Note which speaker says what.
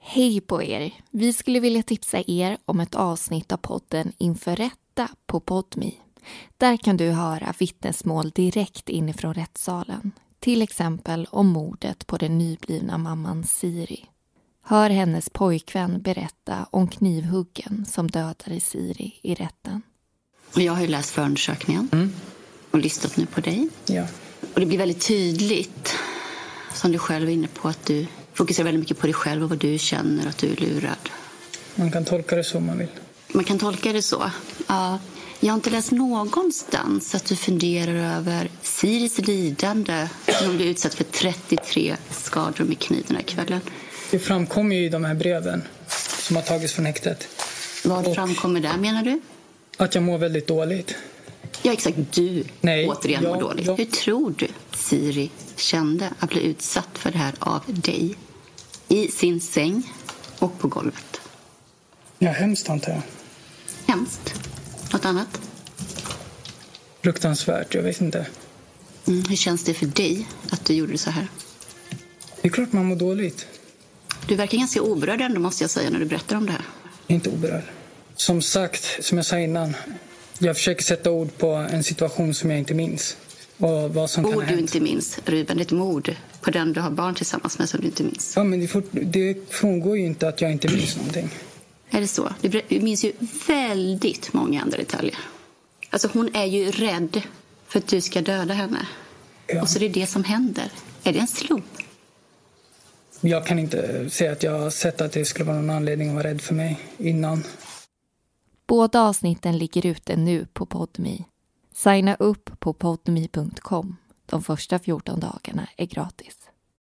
Speaker 1: Hej på er! Vi skulle vilja tipsa er om ett avsnitt av podden Inför rätta på Podmi. Där kan du höra vittnesmål direkt inifrån rättssalen. Till exempel om mordet på den nyblivna mamman Siri. Hör hennes pojkvän berätta om knivhuggen som dödade Siri i rätten.
Speaker 2: Och jag har ju läst förundersökningen och lyssnat nu på dig.
Speaker 3: Ja.
Speaker 2: Och det blir väldigt tydligt, som du själv är inne på, att du fokuserar väldigt mycket på dig själv och vad du känner och att du är lurad.
Speaker 3: Man kan tolka det som man vill.
Speaker 2: Man kan tolka det så. Ja. Jag har inte läst någonstans att du funderar över Siris lidande när hon blev utsatt för 33 skador med kniv den här kvällen.
Speaker 3: Det framkommer ju i de här breven som har tagits från häktet
Speaker 2: Vad
Speaker 3: Och-
Speaker 2: framkommer där, menar du?
Speaker 3: att jag mår väldigt dåligt.
Speaker 2: Ja, exakt. Du
Speaker 3: Nej,
Speaker 2: återigen
Speaker 3: jag-
Speaker 2: mår dåligt.
Speaker 3: jag-
Speaker 2: Hur tror du Siri kände att bli utsatt för det här av dig? I sin säng och på golvet.
Speaker 3: Ja, hemskt antar jag.
Speaker 2: Hemskt. Något annat?
Speaker 3: Fruktansvärt, jag vet inte.
Speaker 2: Mm, hur känns det för dig att du gjorde så här?
Speaker 3: Det är klart man mår dåligt.
Speaker 2: Du verkar ganska oberörd ändå, måste jag säga, när du berättar om det här.
Speaker 3: Jag är inte oberörd. Som sagt, som jag sa innan. Jag försöker sätta ord på en situation som jag inte minns. Och vad som kan ha
Speaker 2: Ord du
Speaker 3: hänt.
Speaker 2: inte minns, Ruben. Det är ett mord på den du har barn tillsammans med som du inte minns.
Speaker 3: Ja, men det, fort, det frångår ju inte att jag inte minns någonting.
Speaker 2: Är det så? Du ber- du minns ju väldigt många andra detaljer. Alltså, hon är ju rädd för att du ska döda henne.
Speaker 3: Ja.
Speaker 2: Och så är det det som händer. Är det en slump?
Speaker 3: Jag kan inte säga att jag har sett att det skulle vara någon anledning att vara rädd för mig innan.
Speaker 1: Båda avsnitten ligger ute nu på Podmi. Signa upp på podmi.com. De första 14 dagarna är gratis.